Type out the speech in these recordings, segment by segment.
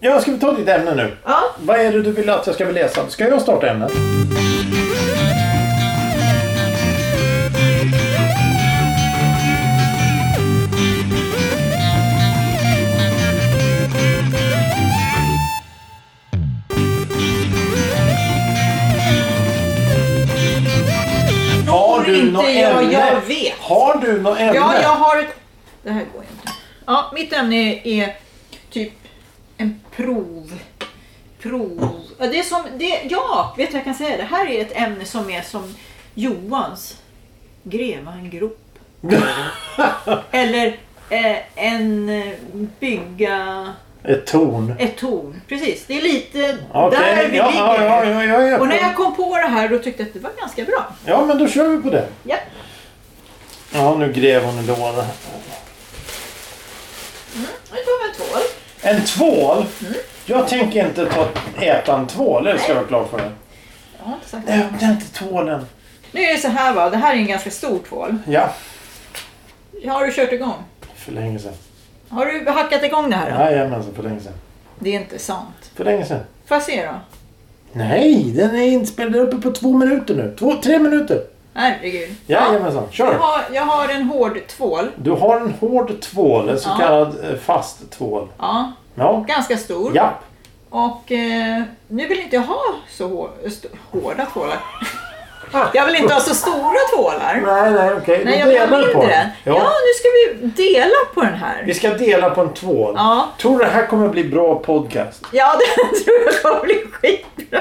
Ja, ska vi ta ditt ämne nu? Ja. Vad är det du vill att jag ska läsa? Ska jag starta ämnet? Har du inte något jag, ämne? jag vet. Har du något ämne? Ja, jag har ett... Det här går inte. Ja, mitt ämne är typ en prov. Prov. Ja, Det är som, det, ja, vet du vad jag kan säga? Det här är ett ämne som är som Johans. Gräva en grop. Eller eh, en eh, bygga Ett torn. ett torn. Precis, det är lite Okej, där vi ja, ja, ligger. ja, ja, ja, ja. Och när jag kom på det här då tyckte jag att det var ganska bra. ja, men då kör vi på det. Ja. Ja, nu grev hon en låda. Nu tar vi en tvål. En tvål? Mm. Jag tänker inte ta, äta en tvål, det ska jag vara klar för. Jag har inte sagt det. Nej, det är inte tvålen. Nu är det så här va, det här är en ganska stor tvål. Ja, Har du kört igång? för länge sedan. Har du hackat igång det här då? Jajamensan, för länge sedan. Det är inte sant. För länge sedan. Får jag se då? Nej, den är inspelad uppe på två minuter nu. Två, tre minuter. Herregud. Jajamensan, Jag kör. har, jag har en hård tvål. Du har en hård tvål, en så Ja. kallad eh, fast tvål. Ja, Ja. ganska stor. Ja. Och eh, nu vill inte jag ha så hår, st- hårda tvålar. Jag vill inte ha så stora tvålar. Nej, nej, okej. Nej, jag Då vill ha delar vi på mindre. Den. Ja. Ja. nu ska vi dela på den här. Vi ska dela på en tvål. Ja. Tror du det här kommer bli bra podcast? Ja, det tror jag kommer bli skitbra.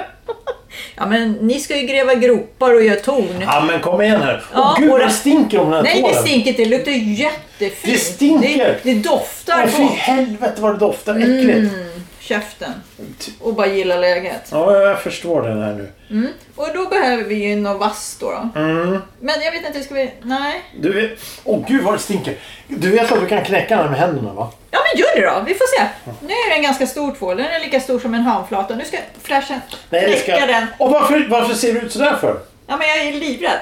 Ja, men ni ska ju gräva gropar och göra torn. Ja, men kom igen här. Ja, Åh gud, och det- vad stinker om den här Nej, tvålen. det stinker inte. Det luktar jättefint. Det stinker. Det, det doftar Åh, fy på Mm. helvete vad det doftar äckligt. käften Ty- och bara gilla läget. Ja, jag förstår den här nu. Och då behöver vi ju någon vass då. då. Mm. Men jag vet inte, ska vi... Nej. Du vet... Åh gud vad det stinker. Du vet att du kan knäcka den med händerna va? Ja, men gör det då. Vi får se. Nu är det en ganska stor tvål. Den är lika stor som en handflata. Nu ska flashen det knäcka den. Och varför, varför ser du ut sådär för? Ja, men jag är livrädd.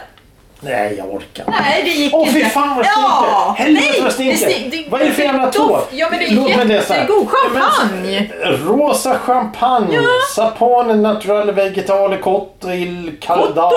Nej, jag orkar inte. Nej, det gick Åh inte. fy fan vad det stinker! Ja, Helvete nej, vad det stinker! det stink- det- vad är det för jävla doft- tvål? Ja, men det är Låt mig läsa. jättegod champagne. Nej, men, Rosa champagne! Ja. Sapone naturale vegetale cotto il Cotto il caldara.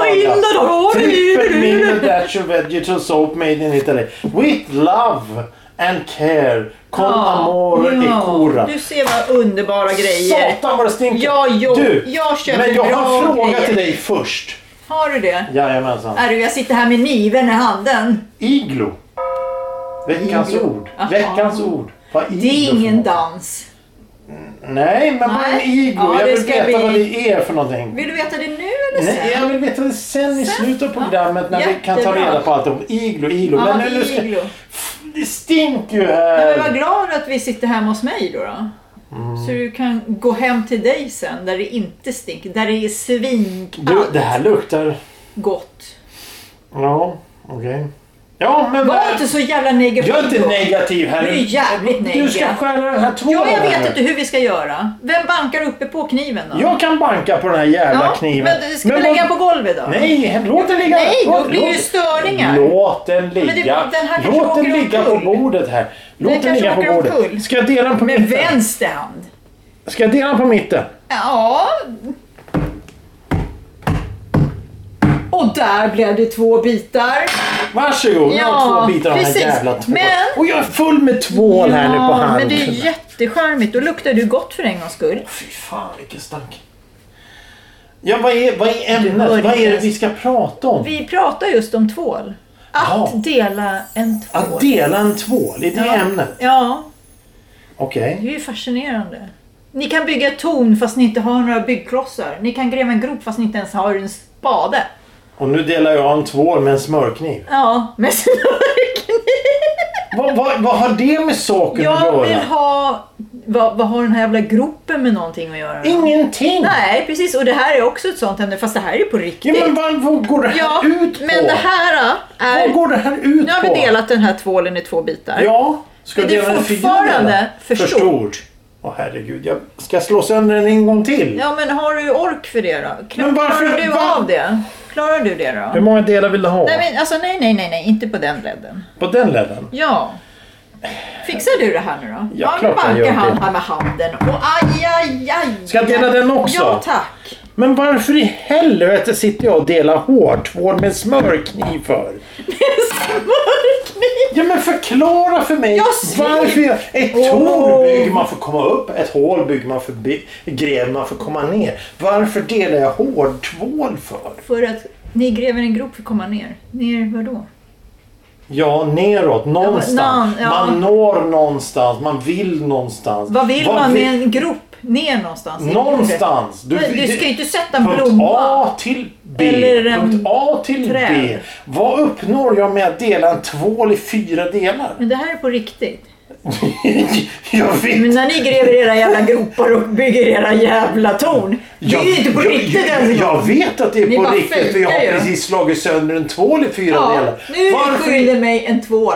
caldara. Triple meal dash of vegetable soap made in Italy. With love and care. Con amore e cura. Du ser vad underbara grejer. Satan vad det stinker! Ja, jo, du, jag köper men jag har en bra fråga grejer. till dig först. Har du det? Jajamensan. Är du, jag sitter här med niven i handen. Iglo. Veckans Iglo. ord. Jaha. Veckans ord. Vad Det är iglo ingen för något? dans. Nej, men vad är en Nej. iglo? Ja, jag det vill ska veta bli- vad det är för någonting. Vill du veta det nu eller Nej, sen? jag vill veta det sen i Sen? slutet av Ja. programmet när vi kan ta Jättebra. reda på allt om iglo, iglo. Ja, men nu ska... iglo. Det stinker ju Nej, men var här. glad att vi sitter hemma hos mig då. då. Mm. Så du kan gå hem till dig sen där det inte stinker, där det är Du, svinkallt. det här luktar... Gott. Ja, okej. Ja, men... Var inte så jävla negativ. Jag är inte negativ här. Du är jävligt Du ska negativ. skära den här tvålen Ja, jag här. vet inte hur vi ska göra. Vem bankar uppe på kniven då? Jag kan banka på den här jävla Ja, kniven. Men ska vi vad- lägga den på golvet då? Nej, låt den ligga. Nej, då Låt- blir det ju låt- störningar. Låt den ligga. Men det- den här kanske låt den åker ligga på omkull. bordet här. Låt den, Den kanske ligga på åker bordet. omkull. Ska jag dela den på Med mitten? vänster hand. Ska jag dela den på mitten? Ja. Och där blev det två bitar. Varsågod, jag har Ja, två bitar av den här precis. jävla tvålen. Men- Och jag är full med tvål här nu på handen. men det är jättecharmigt. Då luktar du gott för en gångs skull. Fy fan vilken stank. Ja, vad är, vad är ämnet? hör Vad är det inte. vi ska prata om? Vi pratar just om tvål. Att Ja. dela en tvål. Att dela en tvål, är det Ja. ämnet? Ja, Okej. det är ju fascinerande. Ni kan bygga ett torn fast ni inte har några byggklossar. Ni kan gräva en grop fast ni inte ens har en spade. Och nu delar jag en tvål med en smörkniv. Ja, men Vad, vad, vad har det med saken att Jag göra? vill ha... Vad, vad har den här jävla gropen med någonting att göra? Ingenting! Nej, precis. Och det här är också ett sånt ämne, fast det här är på riktigt. Ja, men vad, vad går det här Ja, ut på? men det här äh, är... Vad går det här ut Nu har på? vi delat den här tvålen i två bitar. Ja, ska Men det är dela den i fyra fortfarande delar? för för stort. stort. Åh herregud, jag ska slå sönder den en gång till. Ja, men har du ork för det då? Klar, Men varför- klarar du va- av det? Klarar du det då? Hur många delar vill du ha? Nej, men alltså nej, nej, nej, nej, inte på den bredden. På den ledden? Ja. Fixar du det här nu då? Ja, nu klart jag bankar gör han det. här med handen och aj, aj, aj, aj. Ska jag dela den också? Ja, tack. Men varför i helvete sitter jag och delar hårtvål med smörkniv för? Smörkniv! Ja men förklara för mig Jag ser- varför jag... Ett Åh. torn bygger man för att komma upp, ett hål bygger man för by- gräver man för att komma ner. Varför delar jag hårtvål för? För att ni gräver en grop för att komma ner. Ner var då? Ja, neråt, någonstans. nå- ja. Man når någonstans, man vill någonstans. Vad vill Vad man vill- med en grop? Ner någonstans? i Någonstans. Du, jorden. Men Du det- ska ju inte sätta en Punkt blomma. A till B. Eller en punkt A till träd. B. Vad uppnår jag med att dela en tvål i fyra delar? Men det här är på riktigt. jag vet Men när ni gräver era jävla gropar och bygger era jävla torn. Det är ju inte på jag, riktigt jag, ens. jag vet att det är Ni på bara riktigt för jag har fejkar ju. precis slagit sönder en tvål i fyra Ja, delar. nu Varför? skyller mig en tvål.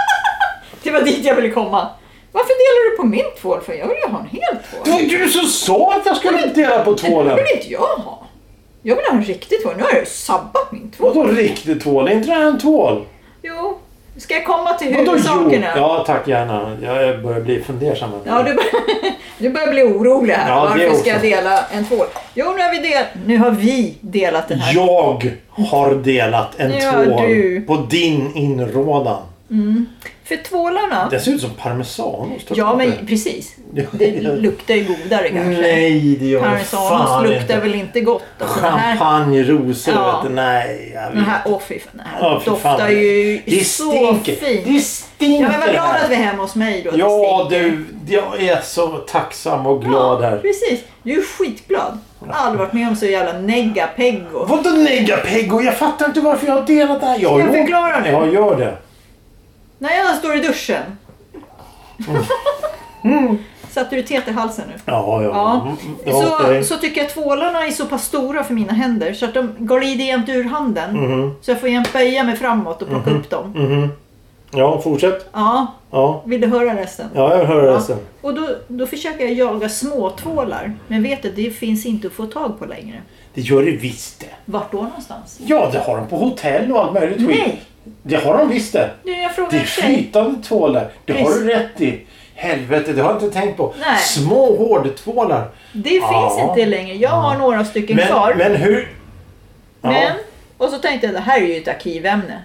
det var dit jag ville komma. Varför delar du på min tvål? För jag vill ju ha en hel Det tvål. var ju du som sa att jag skulle Men- dela på Det tvålen. vill inte jag ha. Jag vill ha en riktig tvål. Nu har jag ju sabbat min tvål. Vadå riktig tvål? Är inte det här en tvål? Jo, ska jag komma till Vadå jo? huvudsakerna? Ja tack gärna. Jag börjar bli fundersam. Ja, du, bör- du börjar bli orolig här. Ja, det Varför också. ska jag dela en tvål? Jo, nu har vi, del, nu har vi delat den här. Jag har delat en Ja, tvål du. på din inrådan. För tvålarna... Den ser ut som parmesanost. Ja, men precis. Det luktar ju godare kanske. Nej, det gör det fan Parmesanost luktar inte. väl inte gott? Och så den här, Champagne, rosor, Ja. vet du. Nej, jag den vet här, åh fy fan, den här Ja, fy fan. doftar ju det så stinker. fint. Det stinker Ja, men vad glad här. att vi är hemma hos mig då. att det Ja stinker. du, jag är så tacksam och glad Ja, här. Precis, du är skitglad. Jag har aldrig varit med om så jävla negga-peggo. Vadå negga Peggo? Jag fattar inte varför jag har delat det här. Jag, jag har- förklara nu? Ja, gör det. När jag står i duschen. Mm. Satte du teet i halsen nu? Ja, Mm. ja. Ja. Mm, ja, Så, okej. så tycker jag tvålarna är så pass stora för mina händer så att de går lite jämnt ur handen. Mhm. Så jag får jämt böja mig framåt och plocka upp dem. Mhm. Ja, fortsätt. Ja, Ja, vill du höra resten? ja jag hör Ja. det sen. Och då, då försöker jag jaga små tvålar. Men vet du, det finns inte att få tag på längre. Det gör det visst det. Vart då någonstans? Ja, det har de på hotell och allt möjligt skit. Nej. Det har de visst det. Nu jag frågar Det är en tjej. flytande tvålar. Det har Precis. du rätt i. Helvete, det har jag inte tänkt på. Nej. Små hårdtvålar. Det finns Ja. inte längre. Jag har några stycken kvar. Men, men hur... Ja. Men, och så tänkte jag det här är ju ett arkivämne.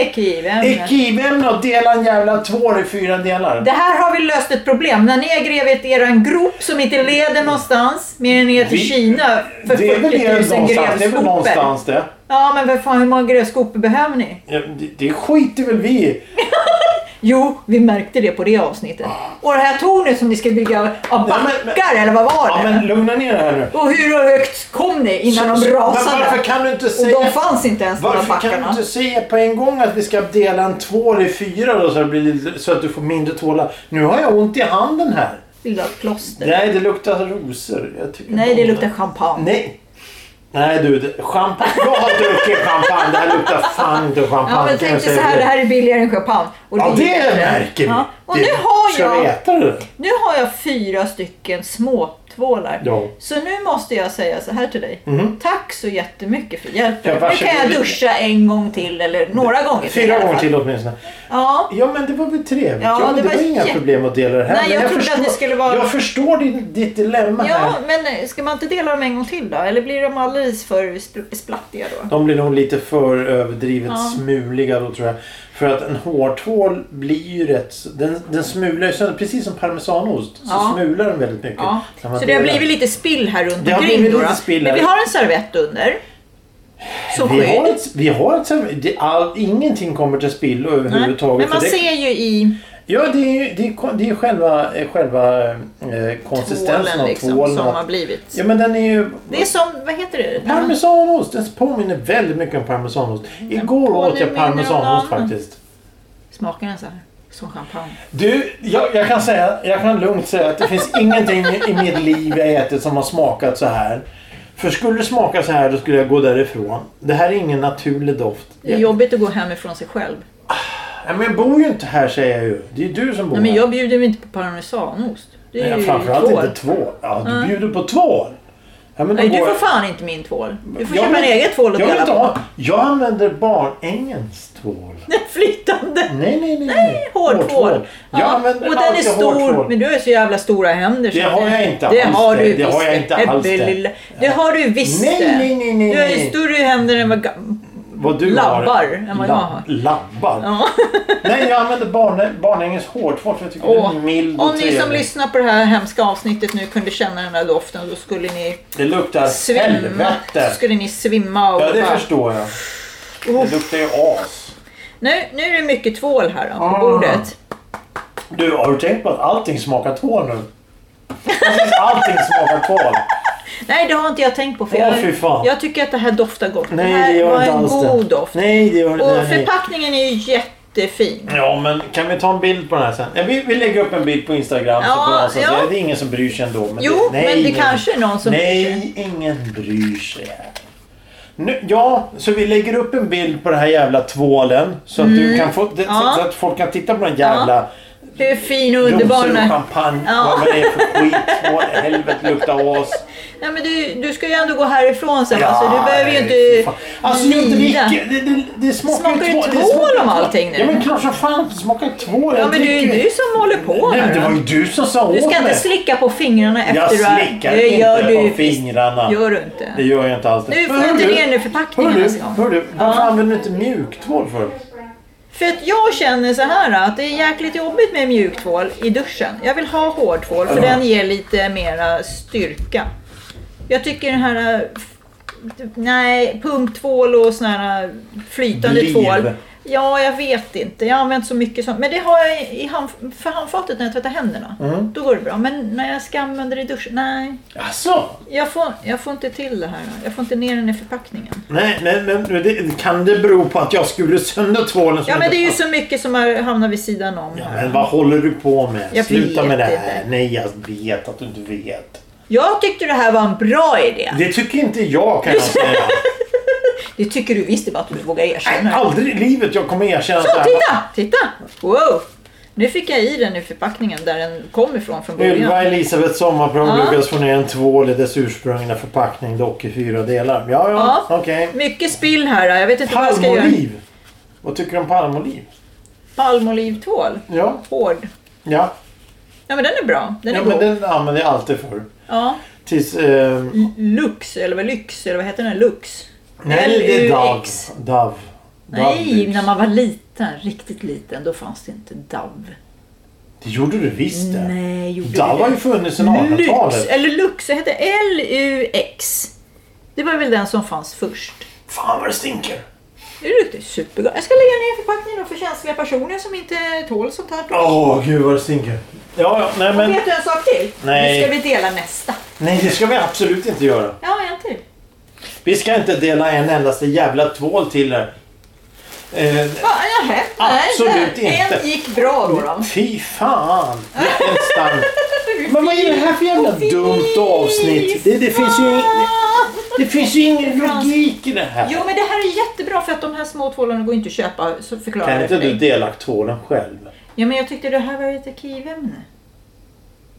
Arkivämne. Ekivämne och dela en jävla tvål i fyra delar. det här har vi löst ett problem. När ni har grävt er en grop som inte leder någonstans mer än ner till Vi- Kina för det är väl det 40 000 någonstans. Det är väl grävskopor. någonstans det. Ja, men vad fan, hur många grävskopor behöver ni? Ja, Det, det skiter väl vi i. Jo, vi märkte det på det avsnittet. Och det här tornet som ni ska bygga av Nej, backar, Ah. men- men- eller vad var Ja, det? men lugna ner det här nu. Och hur högt kom ni innan Så- de så- rasade? Men varför kan du inte och säga... de fanns inte ens, de här Varför kan du backarna. inte säga på en gång att vi ska dela en tvål i fyra då så, det blir, så att du får mindre tvålar? Nu har jag ont i handen här. Vill du ha plåster? Nej, det luktar rosor. Jag tycker Nej, inte det om luktar champagne. Nej. Nej du, det- champagne. Jag har druckit champagne. Det här luktar fan inte champagne. Ja, kan men tänk jag dig så säga här, dig. det här är billigare än champagne. Och Ja, det är bättre. märker vi. Ja. Och Det- nu har Ska vi jag, äta det? nu har jag fyra stycken små tvålar. Ja. Mhm. Så nu måste jag säga så här till dig. Tack så jättemycket för hjälpen. Ja, nu kan jag varsågod. duscha en gång till eller några gånger till i Fyra alla gånger fall. till åtminstone. Ja, Ja, men det var väl trevligt. Ja, Ja, men det det, var var, inga jä- problem att dela det här. Nej, men jag trodde att det skulle vara- Jag förstår din, ditt dilemma ja, här. men eh, ska man inte dela dem en gång till då? Eller blir de alldeles för spl- splattiga då? De blir nog lite för överdrivet Ja. smuliga då tror jag. För att en hårtvål blir ju rätt... Den, den smular ju sönder. Precis som parmesanost så Ja. smular den väldigt mycket. Ja. när man Så det har delar. blivit lite spill här runt Det har omkring blivit då. lite då. spill Men vi här. har en servett under. Som Vi har skydd. ett, vi har ett sam- det, all, ingenting kommer till spillo Nej, överhuvudtaget. Mm. Men man för det, ser ju i... Ja, det är, ju- det är, kon- det är själva, eh, själva eh, konsistensen tvålen av liksom, tvålen. som att- har blivit. Ja, men den är ju... Det är som, vad heter det? Parmesanost! Den påminner väldigt mycket om parmesanost. Igår åt påminner jag om parmesanost annan. faktiskt. Smakar den så här? Som champagne. Du, jag, jag, kan säga, jag kan lugnt säga att det finns ingenting i i mitt liv jag ätit som har smakat så här. För skulle det smaka så här då skulle jag gå därifrån. Det här är ingen naturlig doft. Det är Jag, jobbigt att gå hemifrån sig själv. Nej, men jag bor ju inte här säger jag ju. Det är ju du som bor Nej, men här. jag bjuder mig inte på parmesanost. Det Nej, är ju framförallt tvål. inte två. Ja, du bjuder på två. Ja, men då Nej, du går får jag- fan inte min tvål. Du får Jag köpa en vill- egen tvål och jag vill dela inte på. ha. Jag använder barnängens tvål. Den flytande. Nej, nej, nej. nej. Hårtvål. Jag Ja, använder och den är alltid stor. hårtvål. Men du har ju så jävla stora händer. så Det har jag inte det alls Har det. du Det har visst jag inte alls det. Ebbelilla. Det har du visst Nej, det. nej, nej, nej, Du har ju nej. större händer än vad... gam- Vad du labbar har. än vad jag har. Labbar? Ja. Nej, jag använder barn, barnängens hårtvål för jag tycker Åh, den är mild och Om ni som trevlig. lyssnar på det här hemska avsnittet nu kunde känna den här doften så skulle ni Det luktar svimma. helvete. Så skulle ni svimma och Ja, det bara... förstår jag. Uff. Det luktar ju as. Nu, nu är det mycket tvål här då, på Ah. bordet. Du, har du tänkt på att allting smakar tvål nu? Precis allting smakar tvål. Nej, det har inte jag tänkt på. För Åh, jag, fy fan. jag tycker att det här doftar gott. det Nej, här det gör var inte en alls god det. doft. Nej, det gör Och det inte. förpackningen är ju jättefin. Ja, men kan vi ta en bild på den här sen? Ja, vi, vi lägger upp en bild på Instagram. Ja, så på den, så att ja. säga. Det är ingen som bryr sig ändå. Men Jo, det, nej, men det ingen- kanske är någon som bryr sig. Nej, ingen bryr sig. Nu, ja, så vi lägger upp en bild på den här jävla tvålen. Så att, du kan få, det, Mm. Ja. så att folk kan titta på den jävla... Hur fin och underbar Rosor den och är. champagne. Ja. Vad det är för skit. Tvål, helvete luktar as. Nej, men du, du ska ju ändå gå härifrån sen. alltså, du Ja, behöver ju fy inte fan. Alltså jag lida. dricker. Det, det, det smakar, Smakar ju två- det tvål smakar om två- allting nu. Ja men klart som fan det smakar tvål. Ja, Jag men det är ju dricker ju- du som håller på Nej, men här. det var ju va? du som sa Du åt ska inte mig. slicka på fingrarna efter Jag du har- slickar Det inte gör du på visst. fingrarna. Gör du Det inte. gör jag inte alls. Nu får Hör inte du? ner nu Hör förpackningen du, nästa gång. hör du, varför Ja. använder du inte mjuktvål för? För att jag känner så här att det är jäkligt jobbigt med mjuktvål i duschen. Jag vill ha hårdtvål för Ja. den ger lite mera styrka. Jag tycker den här... eh, f- Nej, pumptvål och sån här eh, flytande Bliv. tvål. Ja, jag vet inte. Jag har använt så mycket sånt. Men det har jag i hand, för handfatet när jag tvättar händerna. Mm. Då går det bra. Men när jag ska använda det i duschen, nej. Alltså, Jag får, jag får inte till det här. Jag får inte ner den i förpackningen. nej, nej, men det, kan det bero på att jag skulle sönder tvålen? som Ja, men inte det är ju passar? så mycket som har- hamnar vid sidan om Ja, här. men vad håller du på med? Jag Sluta vet med det här. inte. Nej, jag vet att du inte vet. Jag tyckte det här var en bra idé. Det tycker inte jag kan jag säga. Det tycker du visst, det är bara att du inte vågar erkänna Nej, det. aldrig i livet jag kommer erkänna att det Så, här titta! Titta! Wow! Nu fick jag i den i förpackningen där den kom ifrån från var- Ylva början. Elisabeth Sommarprång Ja. lyckades få ner en tvål i dess ursprungliga förpackning, dock i fyra delar. Ja, ja, Ja. okej. Mycket spill här. Jag vet inte vad jag ska göra. Palmoliv. Vad tycker du om palmoliv? Palmolivtvål. Ja, Hård. ja. Ja, men den är bra. Den är ja god. men den använder jag alltid för. Ja. Tills... Eh, L- Lux, eller vad lyx, eller vad heter den? Lux? nej, det är Dove. LUX. Dove. Nej, Dove. när man var liten, riktigt liten, då fanns det inte Dove. Det gjorde du visst det. Nej, gjorde Dove har ju funnits sedan det? Lux, 1800-talet. eller Lux, det hette L-U-X. Det var väl den som fanns först. Fan vad det stinker! Det luktar ju supergott. Jag ska lägga ner förpackningen då för känsliga personer som inte tål sånt här. Åh gud vad det stinker! Ja, ja, nej men... Vet du en sak till? Nej. Nu ska vi dela nästa. Nej det ska vi absolut inte göra. Ja, en till. Vi ska inte dela en endaste jävla tvål till er. Eh, Ja, nähä, nej, Absolut nej. inte. En gick bra då. då. fy fan! Vilken stank! Men vad är det här för jävla dumt avsnitt? Det, det, finns, ju, det, det finns ju ingen logik i det här. Jo, men det här är jättebra för att de här små tvålarna går inte att köpa. Så förklarar Kan jag inte för du dig. dela tvålen själv? Ja, men jag tyckte det här var ett arkivämne.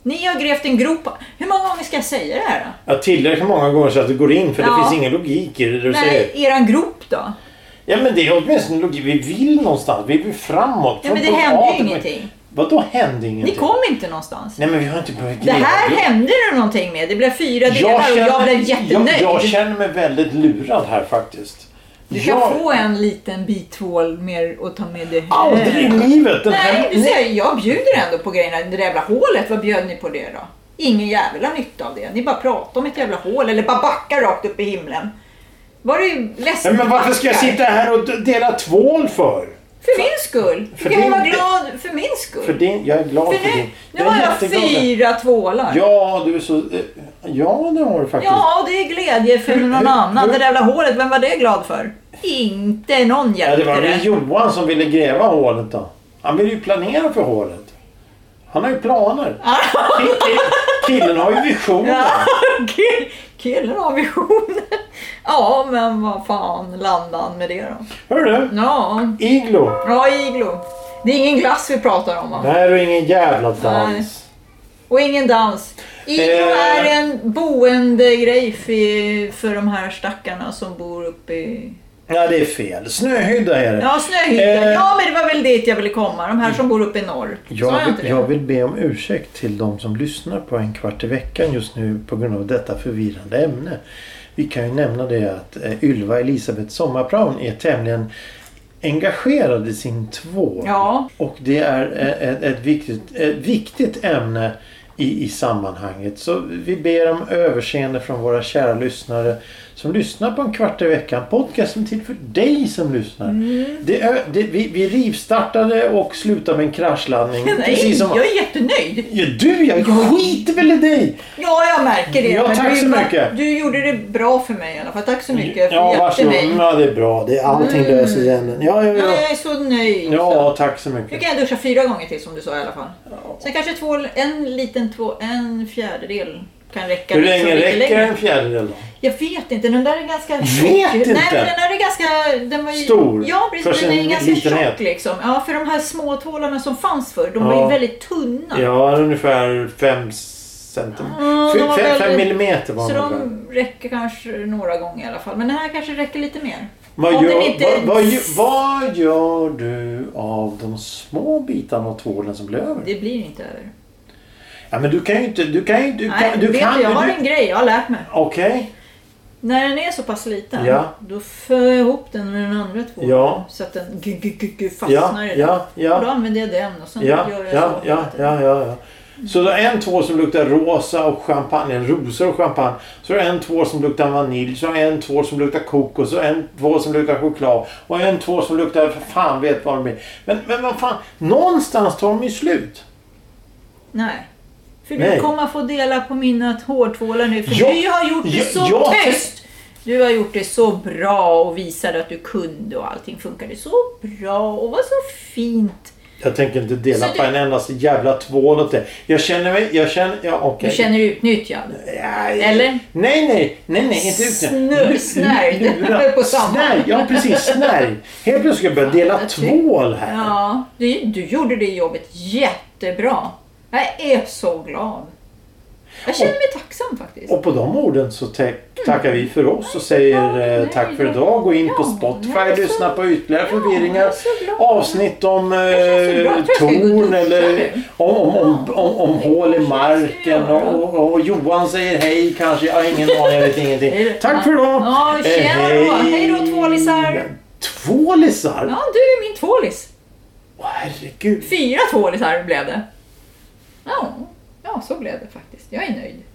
Ni har grävt en grop. Hur många gånger ska jag säga det här då? Ja, tillräckligt många gånger så att det går in för det Ja. finns ingen logik i det du Nej, säger. eran grop då? Ja men det är åtminstone logik. Vi vill någonstans. Vi vill framåt. Ja, men det Från punkt hände A ju till- ingenting. Vadå hände Ni ingenting? kom inte någonstans. Nej men vi har inte börjat Det här gräva. hände det någonting med. Det blev fyra delar och jag blev jättenöjd. Jag, jag känner mig väldigt lurad här faktiskt. du kan jag, få en liten bit tvål mer och ta med dig hem. Aldrig i livet! Den Nej, här, du ser, jag bjuder ändå på grejerna. Det där jävla hålet, vad bjöd ni på det då? Ingen jävla nytta av det. Ni bara pratar om ett jävla hål eller bara backar rakt upp i himlen. Var det ju ledsen Nej, men varför ska jag backar? sitta här och d- dela tvål för? För min skull. För För jag din- vara glad för min skull. För din, jag är glad För för, nu, din. nu har är jag jätteglad för- fyra tvålar. Ja, du är så... eh, Ja, det har du faktiskt. Ja, det är glädje för någon hur- annan. hur- Det där jävla hålet, vem var det glad för? Inte någon Ja, hjälpte det var väl det. Johan som ville gräva hålet då. Han ville ju planera för hålet. Han har ju planer. Ki- ki- Killen har ju visioner. Ja, kill- Killen har visioner. Ja, men vad fan landade han med det då? Hör du? Ja, Iglo. bra iglo. Det är ingen glass vi pratar om va? Det här är ingen jävla dans. Och ingen dans. Iglo Eh. är en boendegrej för, för de här stackarna som bor uppe i... Ja, det är fel. Snöhydda är det. Ja, Snöhyttan. Eh. Ja, men det var väl dit jag ville komma. De här som bor uppe i norr. Sa jag Jag, inte det? vill- jag vill be om ursäkt till de som lyssnar på en kvart i veckan just nu på grund av detta förvirrande ämne. Vi kan ju nämna det att eh, Ylva Elisabeth Sommarplan är tämligen engagerad i sin två. Ja. Och det är eh, ett, ett, viktigt, ett viktigt ämne i, i sammanhanget. Så vi ber om överseende från våra kära lyssnare som lyssnar på en kvart i veckan. Podcasten är till för dig som lyssnar. Mm. Det, är- det, vi, vi rivstartade och slutade med en kraschlandning. Nej, Precis som, jag är jättenöjd. ja, du jag, jag skiter väl i dig! Ja, jag märker det. Ja, Men tack du, så mycket. Du gjorde det bra för mig i alla fall. Tack så mycket. för Ja, du hjälpte varsågod. mig. Mm, Ja, det är bra. Det, allting Mm. löser sig. ändå. Ja, ja, Ja, ja. jag är så nöjd. så. Ja, tack så Nu mycket. kan jag duscha fyra gånger till som du sa i alla fall. Sen kanske två, en liten två, en fjärdedel kan räcka. Hur liksom länge lite räcker en fjärdedel då? Jag vet inte, den där är ganska Vet Nej, inte. men den där är ganska... Den var ju, Stor, Ja, precis. för Den är sin ganska litenhet. tjock liksom. Ja, för de här små tvålarna som fanns förr, de Ja. var ju väldigt tunna. Ja, ungefär 5 centimeter. Ja, de var 5 väldigt- millimeter var Så det ungefär. de räcker kanske några gånger i alla fall. Men den här kanske räcker lite mer. Vad Om den gör, inte- vad, vad, gör- vad gör du av de små bitarna av tvålen som blir över? Det blir inte över. Ja, men du kan ju inte... Du kan ju... Du Nej, kan, du vet kan du, jag ju- har du- en grej. Jag har lärt mig. Okej. När den är så pass liten, Ja. då för jag ihop den med den andra tvålen. Ja. Så att den gu- gu- gu- gu- Ja, fastnar i den. ja, Och då ja. använder jag den och sen Ja, gör jag ja, så. ja, ja, ja, ja. Så du har en tvål som luktar rosa och champagne, eller rosor och champagne. Så har du en tvål som luktar vanilj, så har du en tvål som luktar kokos och en tvål som luktar choklad. Och en tvål som luktar, för fan vet vad de är. Men, men vad fan, någonstans tar de ju slut. Nej. För du Nej. kommer få dela på mina hårtvålar nu. För Jag- du har gjort det jag- så jag- tyst. Du har gjort det så bra och visade att du kunde och allting funkade så bra och var så fint. Jag tänker inte dela Så du- på en endast jävla tvål åt det. Jag känner mig... Jag känner... Ja, okej. Du känner dig utnyttjad. Nej. Eller? Nej, nej, nej, nej, inte Snö- utnyttjad. snärj. På samma. Snärj, ja precis, snärj. Helt plötsligt ska jag börja dela jag tyck- tvål här. Ja, du, du gjorde det jobbet jättebra. Jag är så glad. Jag känner mig tacksam faktiskt. Och på de orden så te- tackar vi för oss och säger eh, tack för idag. Gå in på Ja, jag är Spotify, så- lyssna på ytterligare Ja, förvirringar. jag är så glad. Avsnitt om eh, känns så bra. Jag tror jag ska gå och torn duscha eller nu. om, om, om, om, om hål i marken. göra. Och, och, och Johan säger hej kanske. Jag har ingen aning, jag vet ingenting. Tack för idag! Eh, Ja, tjena då. Hej då, tvålisar. Tvålisar? Ja, du är min tvålis. Åh, herregud. Fyra tvålisar blev det. Ja, ja, så blev det faktiskt. Jag är nöjd.